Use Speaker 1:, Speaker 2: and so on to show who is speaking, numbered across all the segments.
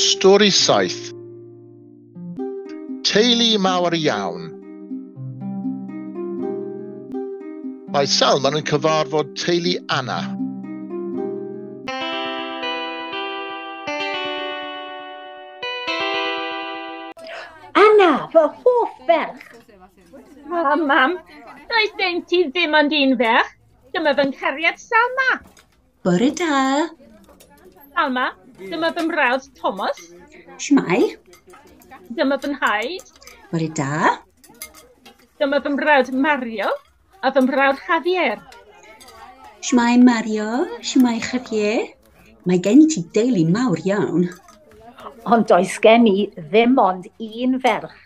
Speaker 1: Stori saith. Teulu mawr iawn. Mae Salman yn cyfarfod teulu Anna.
Speaker 2: Anna, fy hoff ferch.
Speaker 3: O, mam, doedd gen ti ddim ond un ferch. Dyma fy nghariad Salma.
Speaker 2: Bore da.
Speaker 3: Salma, dyma fy mrawd Thomas.
Speaker 2: Shmai,
Speaker 3: Dyma fy nhaid.
Speaker 2: bore da.
Speaker 3: Dyma fy mrawd Mario. A fy mrawd Javier.
Speaker 2: Shmai Mario, shmai Javier. Mae gen i ti deulu mawr iawn.
Speaker 4: ond oes gen i ddim ond un ferch.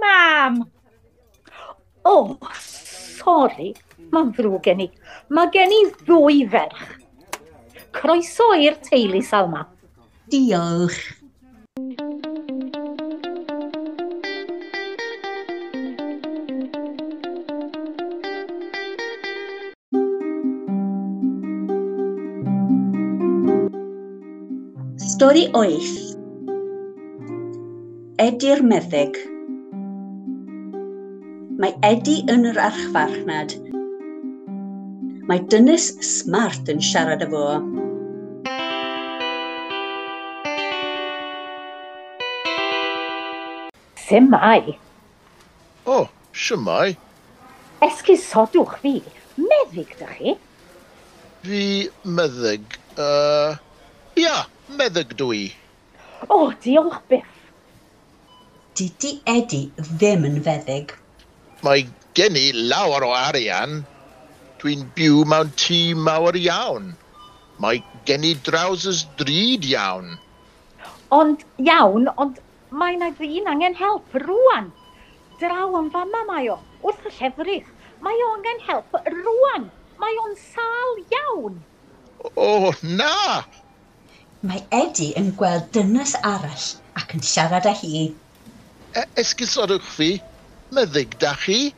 Speaker 3: Mam,
Speaker 4: O, oh, sori, mae'n ddrwg gen i. Mae gen i ddwy ferch. Croeso i'r teulu Salma.
Speaker 2: Diolch. Stori 8 Edi'r meddyg Mae Edi yn yr archfarchnad. Mae dynes smart yn siarad efo.
Speaker 4: Simai,
Speaker 1: O, oh, siwmai,
Speaker 4: esgusodwch fi. Meddyg dych chi?
Speaker 1: fi meddyg. Uh, ia, meddyg dwi.
Speaker 4: O, oh, diolch byth.
Speaker 2: Dydy Edi ddim yn feddyg.
Speaker 1: Mae gen i lawer o arian. Dwi'n byw mewn tŷ mawr iawn. Mae gen i drowsus drud iawn.
Speaker 4: Ond iawn, ond mae na ddyn angen help rwan. Draw yn fama mae o, wrth y llefrith. Mae o angen help rwan. Mae o'n sal iawn.
Speaker 1: O, oh, na!
Speaker 2: Mae Edi yn gweld dynes arall ac yn siarad â hi.
Speaker 1: E- Esgusodwch fi, meddyg da chi?